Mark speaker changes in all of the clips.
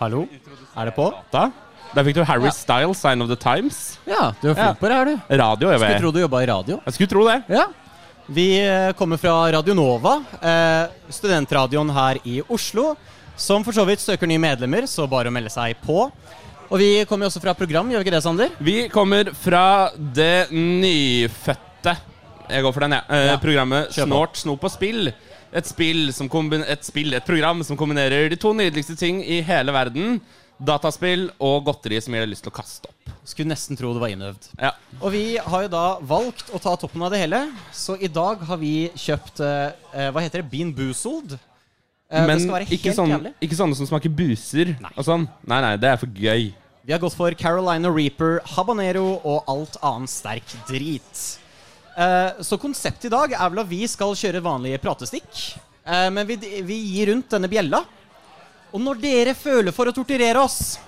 Speaker 1: Hallo? Er det på?
Speaker 2: Da, der fikk du Harry Styles, Sign of the Times.
Speaker 1: Ja, du er flink
Speaker 2: Ja.
Speaker 1: på det her, du.
Speaker 2: Radio, jeg
Speaker 1: Skulle
Speaker 2: vet.
Speaker 1: tro du jobba i radio.
Speaker 2: Jeg skulle tro det.
Speaker 1: Ja. Vi eh, kommer fra Radio Nova, eh, studentradioen her i Oslo, som for så vidt søker nye medlemmer, så bare å melde seg på. Og vi kommer jo også fra program, gjør vi ikke det, Sander?
Speaker 2: Vi kommer fra det nyfødte Jeg går for den, jeg. Eh,
Speaker 1: Ja.
Speaker 2: Programmet
Speaker 1: Kjør på.
Speaker 2: Snort, snop og spill. Et spill, som kombin et spill, et program som kombinerer de to nydeligste ting i hele verden. Dataspill og godteri som gir deg lyst til å kaste opp.
Speaker 1: Skulle nesten tro det var innøvd.
Speaker 2: Ja.
Speaker 1: Og vi har jo da valgt å ta toppen av det hele, så i dag har vi kjøpt eh, eh, Hva heter det? Bean Boozled. Eh, det
Speaker 2: Men
Speaker 1: skal være helt
Speaker 2: ikke, sånn,
Speaker 1: jævlig.
Speaker 2: ikke sånne som smaker buser og sånn. Nei, nei, det er for gøy.
Speaker 1: Vi har gått for Carolina Reaper, habanero og alt annet sterk drit. Eh, så konseptet i dag er vel at vi skal kjøre vanlige pratestikk. Eh, men vi, vi gir rundt denne bjella. Og når dere føler for å torturere oss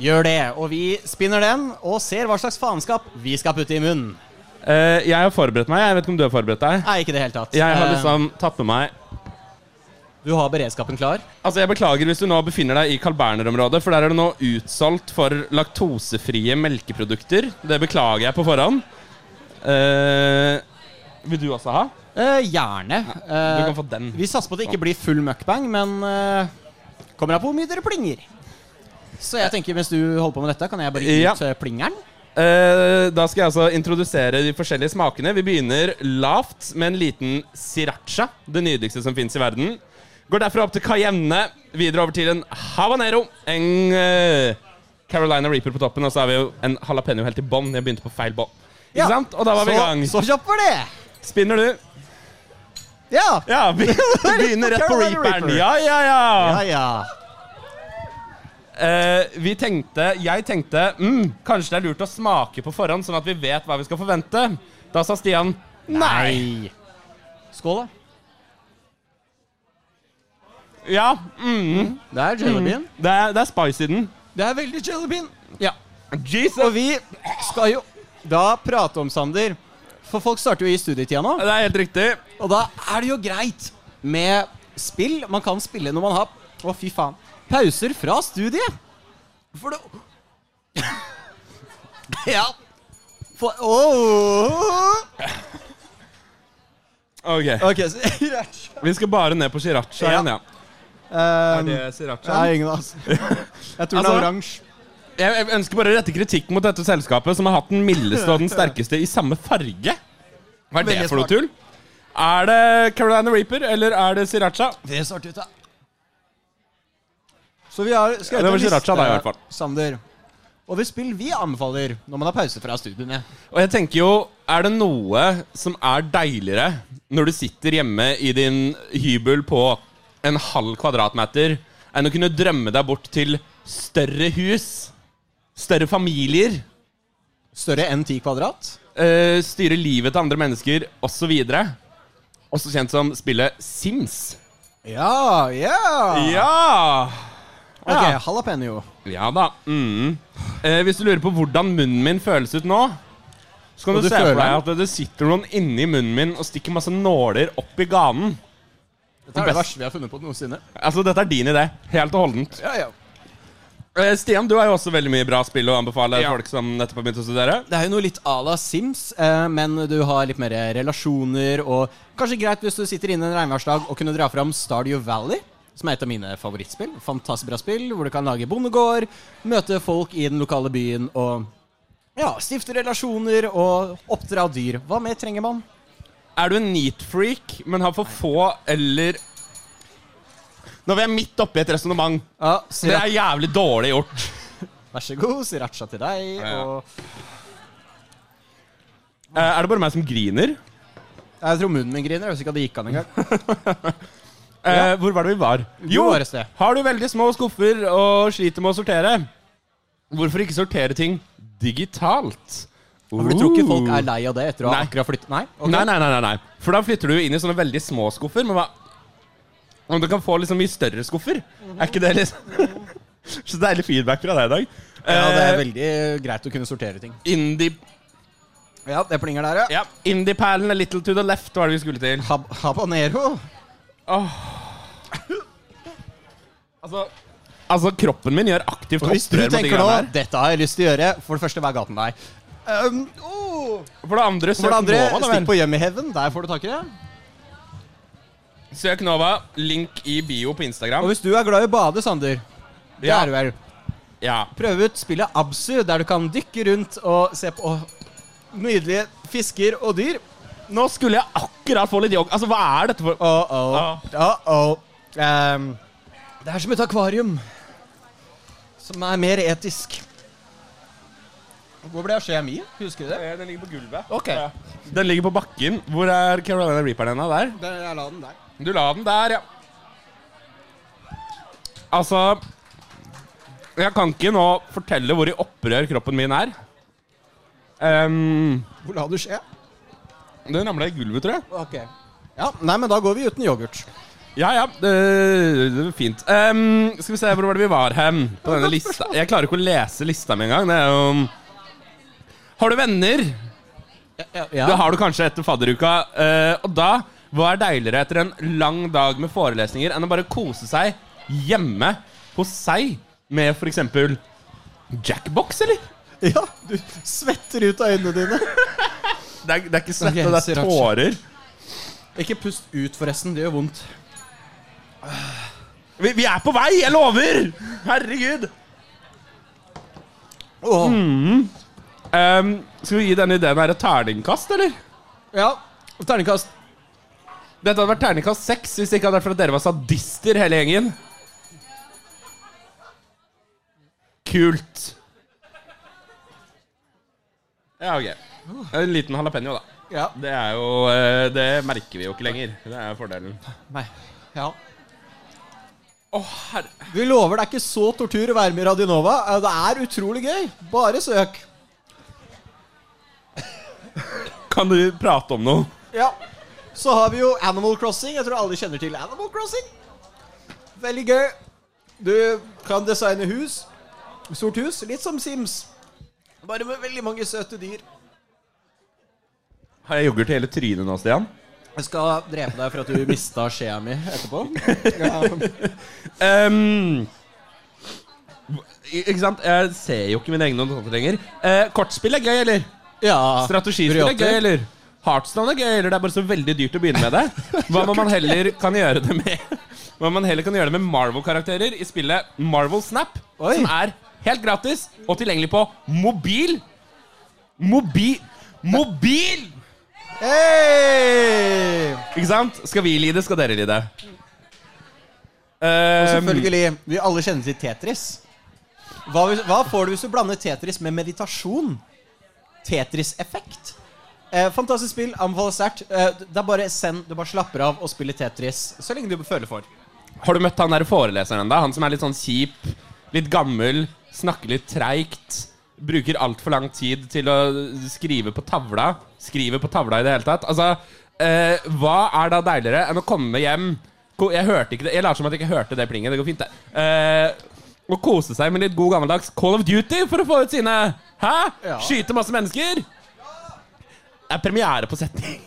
Speaker 1: Gjør det. Og vi spinner den og ser hva slags faenskap vi skal putte i munnen.
Speaker 2: Eh, jeg har forberedt meg. Jeg vet ikke om du har forberedt deg.
Speaker 1: Nei, ikke i det hele tatt.
Speaker 2: Jeg har
Speaker 1: Eh,
Speaker 2: liksom tatt med meg
Speaker 1: du har beredskapen klar?
Speaker 2: Altså, Jeg beklager hvis du nå befinner deg i Carl Berner-området, for der er det nå utsolgt for laktosefrie melkeprodukter. Det beklager jeg på forhånd. Eh, vil du også ha?
Speaker 1: Eh, gjerne.
Speaker 2: Du
Speaker 1: Eh,
Speaker 2: kan få den.
Speaker 1: Vi satser på at det ikke blir full mukbang, men eh, kommer an på hvor mye dere plinger. Så jeg tenker mens du holder på med dette, kan jeg bare gi
Speaker 2: Ja.
Speaker 1: ut eh, plingeren?
Speaker 2: Eh, da skal jeg altså introdusere de forskjellige smakene. Vi begynner lavt med en liten siracha, det nydeligste som fins i verden. Går derfra opp til cayenne, videre over til en habanero. En eh, Carolina Reaper på toppen, og så har vi jo en jalapeño helt i bånn. Jeg begynte på feil bånn. Ikke
Speaker 1: Ja.
Speaker 2: sant? Og da var vi i gang.
Speaker 1: Så, så kjapt var det!
Speaker 2: Spinner du?
Speaker 1: Ja.
Speaker 2: Ja, vi begynner rett på
Speaker 1: Carolina
Speaker 2: reaperen.
Speaker 1: Reaper.
Speaker 2: Ja, ja,
Speaker 1: ja,
Speaker 2: ja.
Speaker 1: ja.
Speaker 2: Eh, vi tenkte, jeg tenkte mm, kanskje det er lurt å smake på forhånd, sånn at vi vet hva vi skal forvente. Da sa Stian nei.
Speaker 1: Skål, da.
Speaker 2: Ja, mm,
Speaker 1: Det er jellybean.
Speaker 2: det, er, det er spice i den.
Speaker 1: Det er veldig jellybean. Ja. Og
Speaker 2: Jesus.
Speaker 1: vi skal jo da prate om Sander. For folk starter jo i studietida nå.
Speaker 2: Det er helt riktig.
Speaker 1: Og da er det jo greit med spill. Man kan spille når man har Å, fy faen. Pauser fra studiet. For det Ja. For Åh.
Speaker 2: Ok,
Speaker 1: Ok, så
Speaker 2: Vi skal bare ned på sriracha
Speaker 1: Ja.
Speaker 2: igjen, ja. Er
Speaker 1: um,
Speaker 2: det sriracha?
Speaker 1: Nei, ingen av oss. Jeg tror den
Speaker 2: Altså-
Speaker 1: er oransje.
Speaker 2: Jeg, jeg ønsker bare å rette kritikk mot dette selskapet, som har hatt den mildeste og den sterkeste i samme farge. Hva er det
Speaker 1: Veldig
Speaker 2: for noe
Speaker 1: smart.
Speaker 2: tull? Er det Carolina Reaper, eller er det sriracha?
Speaker 1: Det så artig ut, da. Så vi har skrevet
Speaker 2: Det var
Speaker 1: en liste,
Speaker 2: sriracha da, i hvert fall.
Speaker 1: Sander. Over spill vi anbefaler når man har pause fra studiene.
Speaker 2: Og jeg tenker jo, er det noe som er deiligere når du sitter hjemme i din hybel på en halv kvadratmeter, enn å kunne drømme deg bort til større hus, større familier,
Speaker 1: Større enn 10 kvadrat.
Speaker 2: eh, styre livet til andre mennesker, osv.? Også kjent som spillet Sims.
Speaker 1: Ja, ja.
Speaker 2: Ja!
Speaker 1: Ok, jalapeño.
Speaker 2: Ja da. Mm. Eh, hvis du lurer på hvordan munnen min føles ut nå, så kan
Speaker 1: Og
Speaker 2: du,
Speaker 1: du
Speaker 2: se for
Speaker 1: føler
Speaker 2: deg at det sitter noen inni munnen min og stikker masse nåler opp i ganen.
Speaker 1: Dette er det verste vi har funnet på noensinne.
Speaker 2: Altså, dette er din idé. Helt og holdent.
Speaker 1: Ja, ja.
Speaker 2: Eh, Stian, du har jo også veldig mye bra spill å anbefale
Speaker 3: Ja.
Speaker 2: folk som nettopp har begynt å studere.
Speaker 1: Det er jo noe litt à la Sims, eh, men du har litt mer relasjoner og Kanskje greit hvis du sitter inne en regnværsdag og kunne dra fram Stardew Valley, som er et av mine favorittspill. Fantastisk bra spill hvor du kan lage bondegård, møte folk i den lokale byen og ja, stifte relasjoner og oppdra dyr. Hva mer trenger man?
Speaker 2: Er du en neat-freak, men har for få eller Nå var jeg midt oppi et resonnement.
Speaker 1: Ja,
Speaker 2: Det
Speaker 1: sira-
Speaker 2: er jævlig dårlig gjort.
Speaker 1: Vær så god, siracha til deg.
Speaker 2: Ja.
Speaker 1: Og
Speaker 2: Eh, er det bare meg som griner?
Speaker 1: jeg tror munnen min griner, hvis ikke det gikk an engang.
Speaker 2: Eh, Hvor var det vi var?
Speaker 1: var et sted.
Speaker 2: har du veldig små skuffer og sliter med å sortere, hvorfor ikke sortere ting digitalt?
Speaker 1: For du tror ikke folk er lei av det etter å ha
Speaker 2: Nei.
Speaker 1: akkurat flyttet Nei? Ok.
Speaker 2: Nei, nei, nei, nei, nei. For da flytter du jo inn i sånne veldig små skuffer. Men hva Om du kan få liksom mye større skuffer? Er ikke det liksom Så deilig feedback fra deg i dag.
Speaker 1: Ja, det er
Speaker 2: Eh,
Speaker 1: veldig greit å kunne sortere ting.
Speaker 2: Indie
Speaker 1: Ja, det plinger der,
Speaker 2: Ja, Indie-perlen A Little To The Left var det vi skulle til.
Speaker 1: Hab habanero.
Speaker 2: Altså, altså, kroppen min gjør aktivt
Speaker 1: Og hvis du
Speaker 2: opprør mot de
Speaker 1: tenker nå
Speaker 2: greiene her.
Speaker 1: Dette har jeg lyst til å gjøre, for det første, hva er gaten deg? Um, oh.
Speaker 2: For det andre,
Speaker 1: For
Speaker 2: søk
Speaker 1: det andre,
Speaker 2: Nova. Da,
Speaker 1: stikk
Speaker 2: vel.
Speaker 1: på Yummyhaven. Der får du tak i det.
Speaker 2: Søk Nova. Link i bio på Instagram.
Speaker 1: Og hvis du er glad i å bade, Sander, det
Speaker 2: Ja.
Speaker 1: er du vel,
Speaker 2: Ja.
Speaker 1: prøv ut spillet Absu, der du kan dykke rundt og se på nydelige fisker og dyr.
Speaker 2: Nå skulle jeg akkurat få litt jogg. Altså, hva er dette for
Speaker 1: Uh-oh. Uh-oh. Um, det er som et akvarium som er mer etisk. Hvor ble av skjea mi? Husker du det?
Speaker 2: Eh, Den ligger på gulvet.
Speaker 1: Ok.
Speaker 2: Den ligger på bakken. Hvor er Carolina Reaperen hennes der?
Speaker 1: Der, jeg la den der.
Speaker 2: Du la den der, ja. Altså Jeg kan ikke nå fortelle hvor i opprør kroppen min er. Ehm,
Speaker 1: Hvor la du skjea?
Speaker 2: den ramla i gulvet, tror jeg.
Speaker 1: Ok. Ja, nei, men da går vi uten yoghurt.
Speaker 2: Ja, ja. Det, det var fint. Ehm, skal vi se hvor var det vi var hen på denne lista. Jeg klarer ikke å lese lista mi engang. Det er jo Har du venner?
Speaker 1: Ja.
Speaker 2: Det har du kanskje etter fadderuka. eh, og da, hva er deiligere etter en lang dag med forelesninger enn å bare kose seg hjemme hos seg med for eksempel Jackbox, eller?
Speaker 1: ja, du svetter ut av øynene dine.
Speaker 2: Det er, det er ikke svette,
Speaker 1: Ok,
Speaker 2: det er
Speaker 1: sriracha.
Speaker 2: tårer.
Speaker 1: Ikke pust ut, forresten. Det gjør vondt.
Speaker 2: Vi, vi er på vei, jeg lover! Herregud.
Speaker 1: Åh.
Speaker 2: Ehm, skal vi gi denne ideen her et terningkast, eller?
Speaker 1: Ja. Terningkast.
Speaker 2: Dette hadde vært terningkast seks hvis det ikke hadde vært for at dere var sadister, hele gjengen. Kult. Ja, ok. En liten jalapeño, da.
Speaker 1: Ja.
Speaker 2: Det er jo eh, Det merker vi jo ikke lenger. Det er fordelen. Å,
Speaker 1: Nei. Ja.
Speaker 2: herre...
Speaker 1: Vi lover det er ikke så tortur å være med i Radionova. Eh, Det er utrolig gøy. Bare søk.
Speaker 2: Kan du prate om noe?
Speaker 1: Ja. Så har vi jo Animal Crossing. Jeg tror alle kjenner til Animal Crossing. Veldig gøy. Du kan designe hus. Stort hus. Litt som Sims. Bare med veldig mange søte dyr.
Speaker 2: Har jeg yoghurt i hele trynet nå, Stian?
Speaker 1: Jeg skal drepe deg for at du mista skjea mi etterpå.
Speaker 2: Ehm, ikke sant? Jeg ser jo ikke mine egne notater lenger. Eh, kortspill er gøy, eller?
Speaker 1: Ja.
Speaker 2: Strategispill er
Speaker 1: Briotter.
Speaker 2: gøy, eller? Heartstone er gøy, eller? Det er bare så veldig dyrt å begynne med det. Hva om man heller kan gjøre det med Hva om man heller kan gjøre det med Marvel-karakterer i spillet Marvel Snap?
Speaker 1: Oi.
Speaker 2: Som er helt gratis og tilgjengelig på mobil. Mobil Mobil!
Speaker 1: Hey!
Speaker 2: Ikke sant? Skal vi lide, skal dere lide.
Speaker 1: Selvfølgelig. Vi alle kjenner til Tetris. Hva, hvis- hva får du hvis du blander Tetris med meditasjon? Tetris-effekt. Eh, fantastisk spill. Anbefales sterkt. Eh, det er bare send. Du bare slapper av og spiller Tetris så lenge du føler for.
Speaker 2: Har du møtt han der foreleseren ennå? Han som er litt sånn kjip, litt gammel, snakker litt treigt. Bruker altfor lang tid til å skrive på tavla. Skriver på tavla i det hele tatt. Altså, eh, hva er da deiligere enn å komme hjem Ko- Jeg hørte ikke det Jeg later som at jeg ikke hørte det plinget. Det går fint, det. Eh, å kose seg med litt god gammeldags Call of Duty for å få ut sine Hæ?
Speaker 1: Ja.
Speaker 2: Skyte masse mennesker? Det er premiere på setning.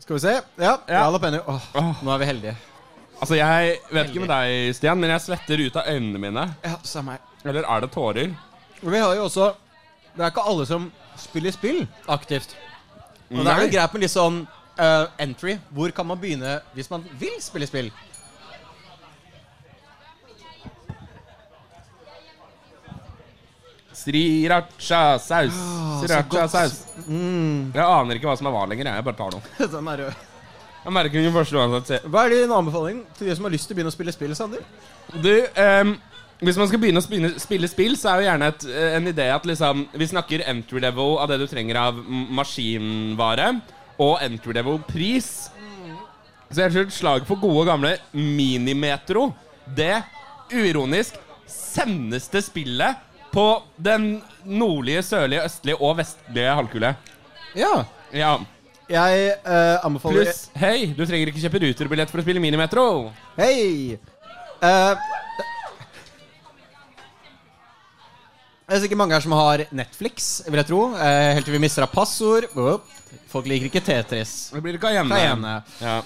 Speaker 1: Skal vi se. Ja.
Speaker 2: Ja.
Speaker 1: Jalapeno. Åh,
Speaker 2: Åh.
Speaker 1: Nå er vi heldige.
Speaker 2: Altså, jeg vet ikke med deg, Stian, men jeg svetter ut av øynene mine.
Speaker 1: Ja, samme her.
Speaker 2: Eller er det tårer?
Speaker 1: Og Vi har jo også Det er ikke alle som spiller spill aktivt. Og det er jo
Speaker 2: Nei.
Speaker 1: greit med litt sånn eh, entry. Hvor kan man begynne hvis man vil spille spill?
Speaker 2: Sriracha-saus. Sriracha-saus.
Speaker 1: så
Speaker 2: Jeg aner ikke hva som er hva lenger. jeg. Jeg bare tar noe.
Speaker 1: Den er rød.
Speaker 2: Jeg merker den første gangen jeg ser
Speaker 1: Hva er din anbefaling til de som har lyst til å begynne å spille spill, Sander?
Speaker 2: Du, ehm, hvis man skal begynne å spille, spille spill, så er jo gjerne et, eh, en idé at liksom Vi snakker entry level av det du trenger av m- maskinvare, og entry level pris. Så jeg tror et slag for gode gamle Minimetro. Det uironisk sendeste spillet på den nordlige, sørlige, østlige og vestlige halvkule.
Speaker 1: Ja.
Speaker 2: Ja.
Speaker 1: Jeg eh, anbefaler
Speaker 2: Pluss hei, du trenger ikke kjøpe ruterbillett for å spille Minimetro.
Speaker 1: Hei! Eh, det er sikkert mange her som har Netflix, vil jeg tro. Eh, helt til vi mister av passord. Åh, Folk liker ikke Tetris.
Speaker 2: Det blir ikke av hjemme.
Speaker 1: Cayenne.
Speaker 2: Ja.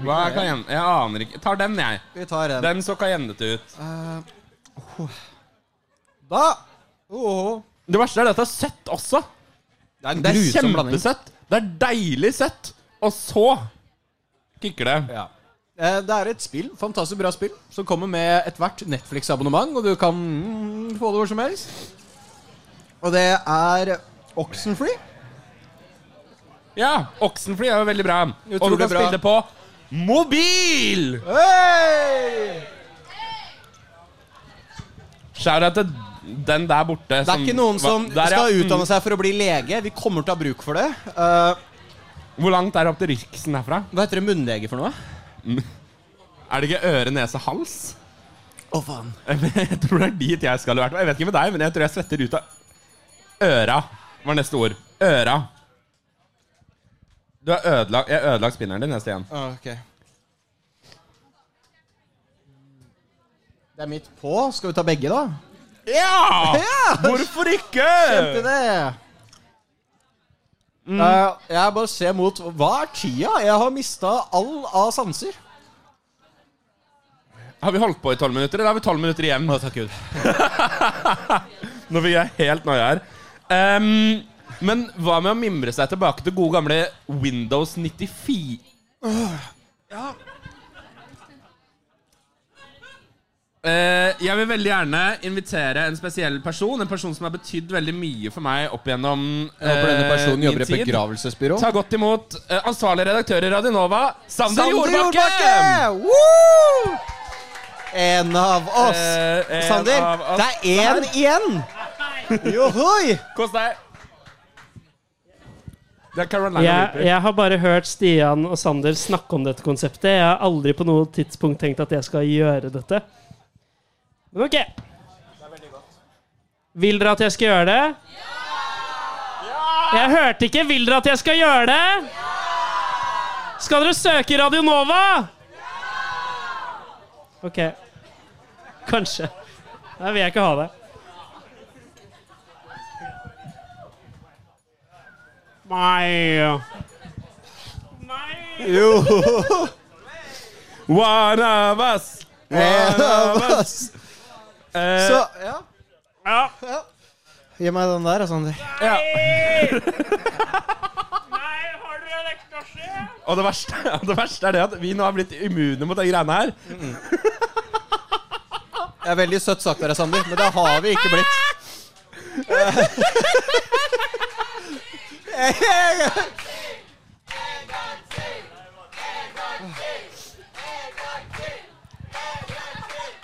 Speaker 2: Hva er cayenne? Jeg aner ikke. Tar den, jeg.
Speaker 1: Vi tar en.
Speaker 2: Den så cayennete ut.
Speaker 1: oh. Da Åh.
Speaker 2: Det verste er at dette er søtt også.
Speaker 1: Det er en
Speaker 2: Det er
Speaker 1: grusom blanding.
Speaker 2: kjempesøtt. Det er deilig søtt. Og så kicker det.
Speaker 1: Ja. Eh, Det er et spill, fantastisk bra spill, som kommer med ethvert Netflix-abonnement, og du kan mm, få det hvor som helst. Og det er Oxenfree.
Speaker 2: Ja, Oxenfree er jo veldig bra. Og du
Speaker 1: Utrolig
Speaker 2: kan
Speaker 1: bra.
Speaker 2: spille på mobil!
Speaker 1: Hey!
Speaker 2: Shout-out til den der borte.
Speaker 1: Det er ikke noen som skal utdanne seg for å bli lege. Vi kommer til å ha bruk for det. Eh,
Speaker 2: Mm. Hvor langt er det opp til Riksen herfra?
Speaker 1: hva heter det munnlege for noe?
Speaker 2: Er det ikke øre, nese, hals?
Speaker 1: Å, faen.
Speaker 2: Jeg tror det er dit jeg skal i hvert fall. Jeg vet ikke med deg, men jeg tror jeg svetter ut av Øra var neste ord. Øra. Du har ødelagt Jeg har ødelagt spinneren din neste igjen.
Speaker 1: Ah, ok. Det er midt på. Skal vi ta begge, da?
Speaker 2: Ja!
Speaker 1: Ja!
Speaker 2: Hvorfor ikke?
Speaker 1: Kjente det.
Speaker 2: Mm.
Speaker 1: Eh, jeg bare ser mot Hva er tida? Jeg har mista all av sanser.
Speaker 2: Har vi holdt på i tolv minutter, eller har vi tolv minutter igjen? Nå fikk jeg helt noia her. Ehm, men hva med å mimre seg tilbake til gode gamle Windows 94? Eh, jeg vil veldig gjerne invitere en spesiell person, en person som har betydd veldig mye for meg opp gjennom eh,
Speaker 1: begravelsesbyrå.
Speaker 2: Ta godt imot eh, ansvarlig redaktør i Radionova, Sander, Jordbakken!
Speaker 1: Woo! En av oss.
Speaker 2: Eh, en
Speaker 1: Sander,
Speaker 2: av oss.
Speaker 1: det er én igjen! Johoi!
Speaker 2: Kos deg. Det er Carolina
Speaker 3: Jeg,
Speaker 2: Reaper.
Speaker 3: jeg har bare hørt Stian og Sander snakke om dette konseptet. Jeg har aldri på noe tidspunkt tenkt at jeg skal gjøre dette. Men ok. Vil dere at jeg skal gjøre det? Jeg hørte ikke 'vil dere at jeg skal gjøre det'? Skal dere søke Radio Nova? Ok. Kanskje. Nei, vil jeg ikke ha det. Nei. Nei.
Speaker 1: Jo.
Speaker 2: One of us.
Speaker 1: En av oss.
Speaker 2: Eh,
Speaker 1: Så, ja.
Speaker 3: Ja.
Speaker 1: Gi meg den der, Sander.
Speaker 2: ja.
Speaker 3: Nei, har dere en ekstra skje?
Speaker 2: Og det verste, og det verste er det at vi nå har blitt immune mot de greiene her.
Speaker 1: Det er veldig søtt sagt av deg, Sander, men det har vi ikke blitt.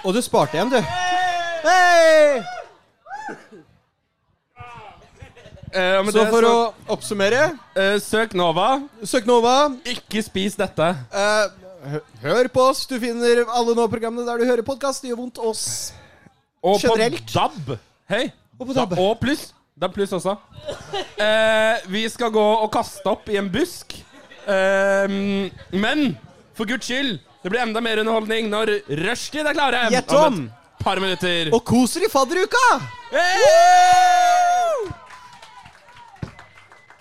Speaker 1: Og du sparte igjen, du. Hei!
Speaker 2: Eh, og med
Speaker 1: Så
Speaker 2: det
Speaker 1: for å oppsummere
Speaker 2: eh, Søk Nova.
Speaker 1: Søk Nova.
Speaker 2: Ikke spis dette.
Speaker 1: eh, hø- hør på oss. Du finner alle Nå-programmene der du hører podkast. Det gjør vondt oss.
Speaker 2: Og
Speaker 1: Generelt.
Speaker 2: på DAB. Hei.
Speaker 1: Og på DAB.
Speaker 2: Og pluss. DAB pluss også. Eh, vi skal gå og kaste opp i en busk. Eh, men for guds skyld, det blir enda mer underholdning når rushtid er klare.
Speaker 1: Gjett om.
Speaker 2: et par minutter.
Speaker 1: Og kos dere i fadderuka!
Speaker 2: Hey!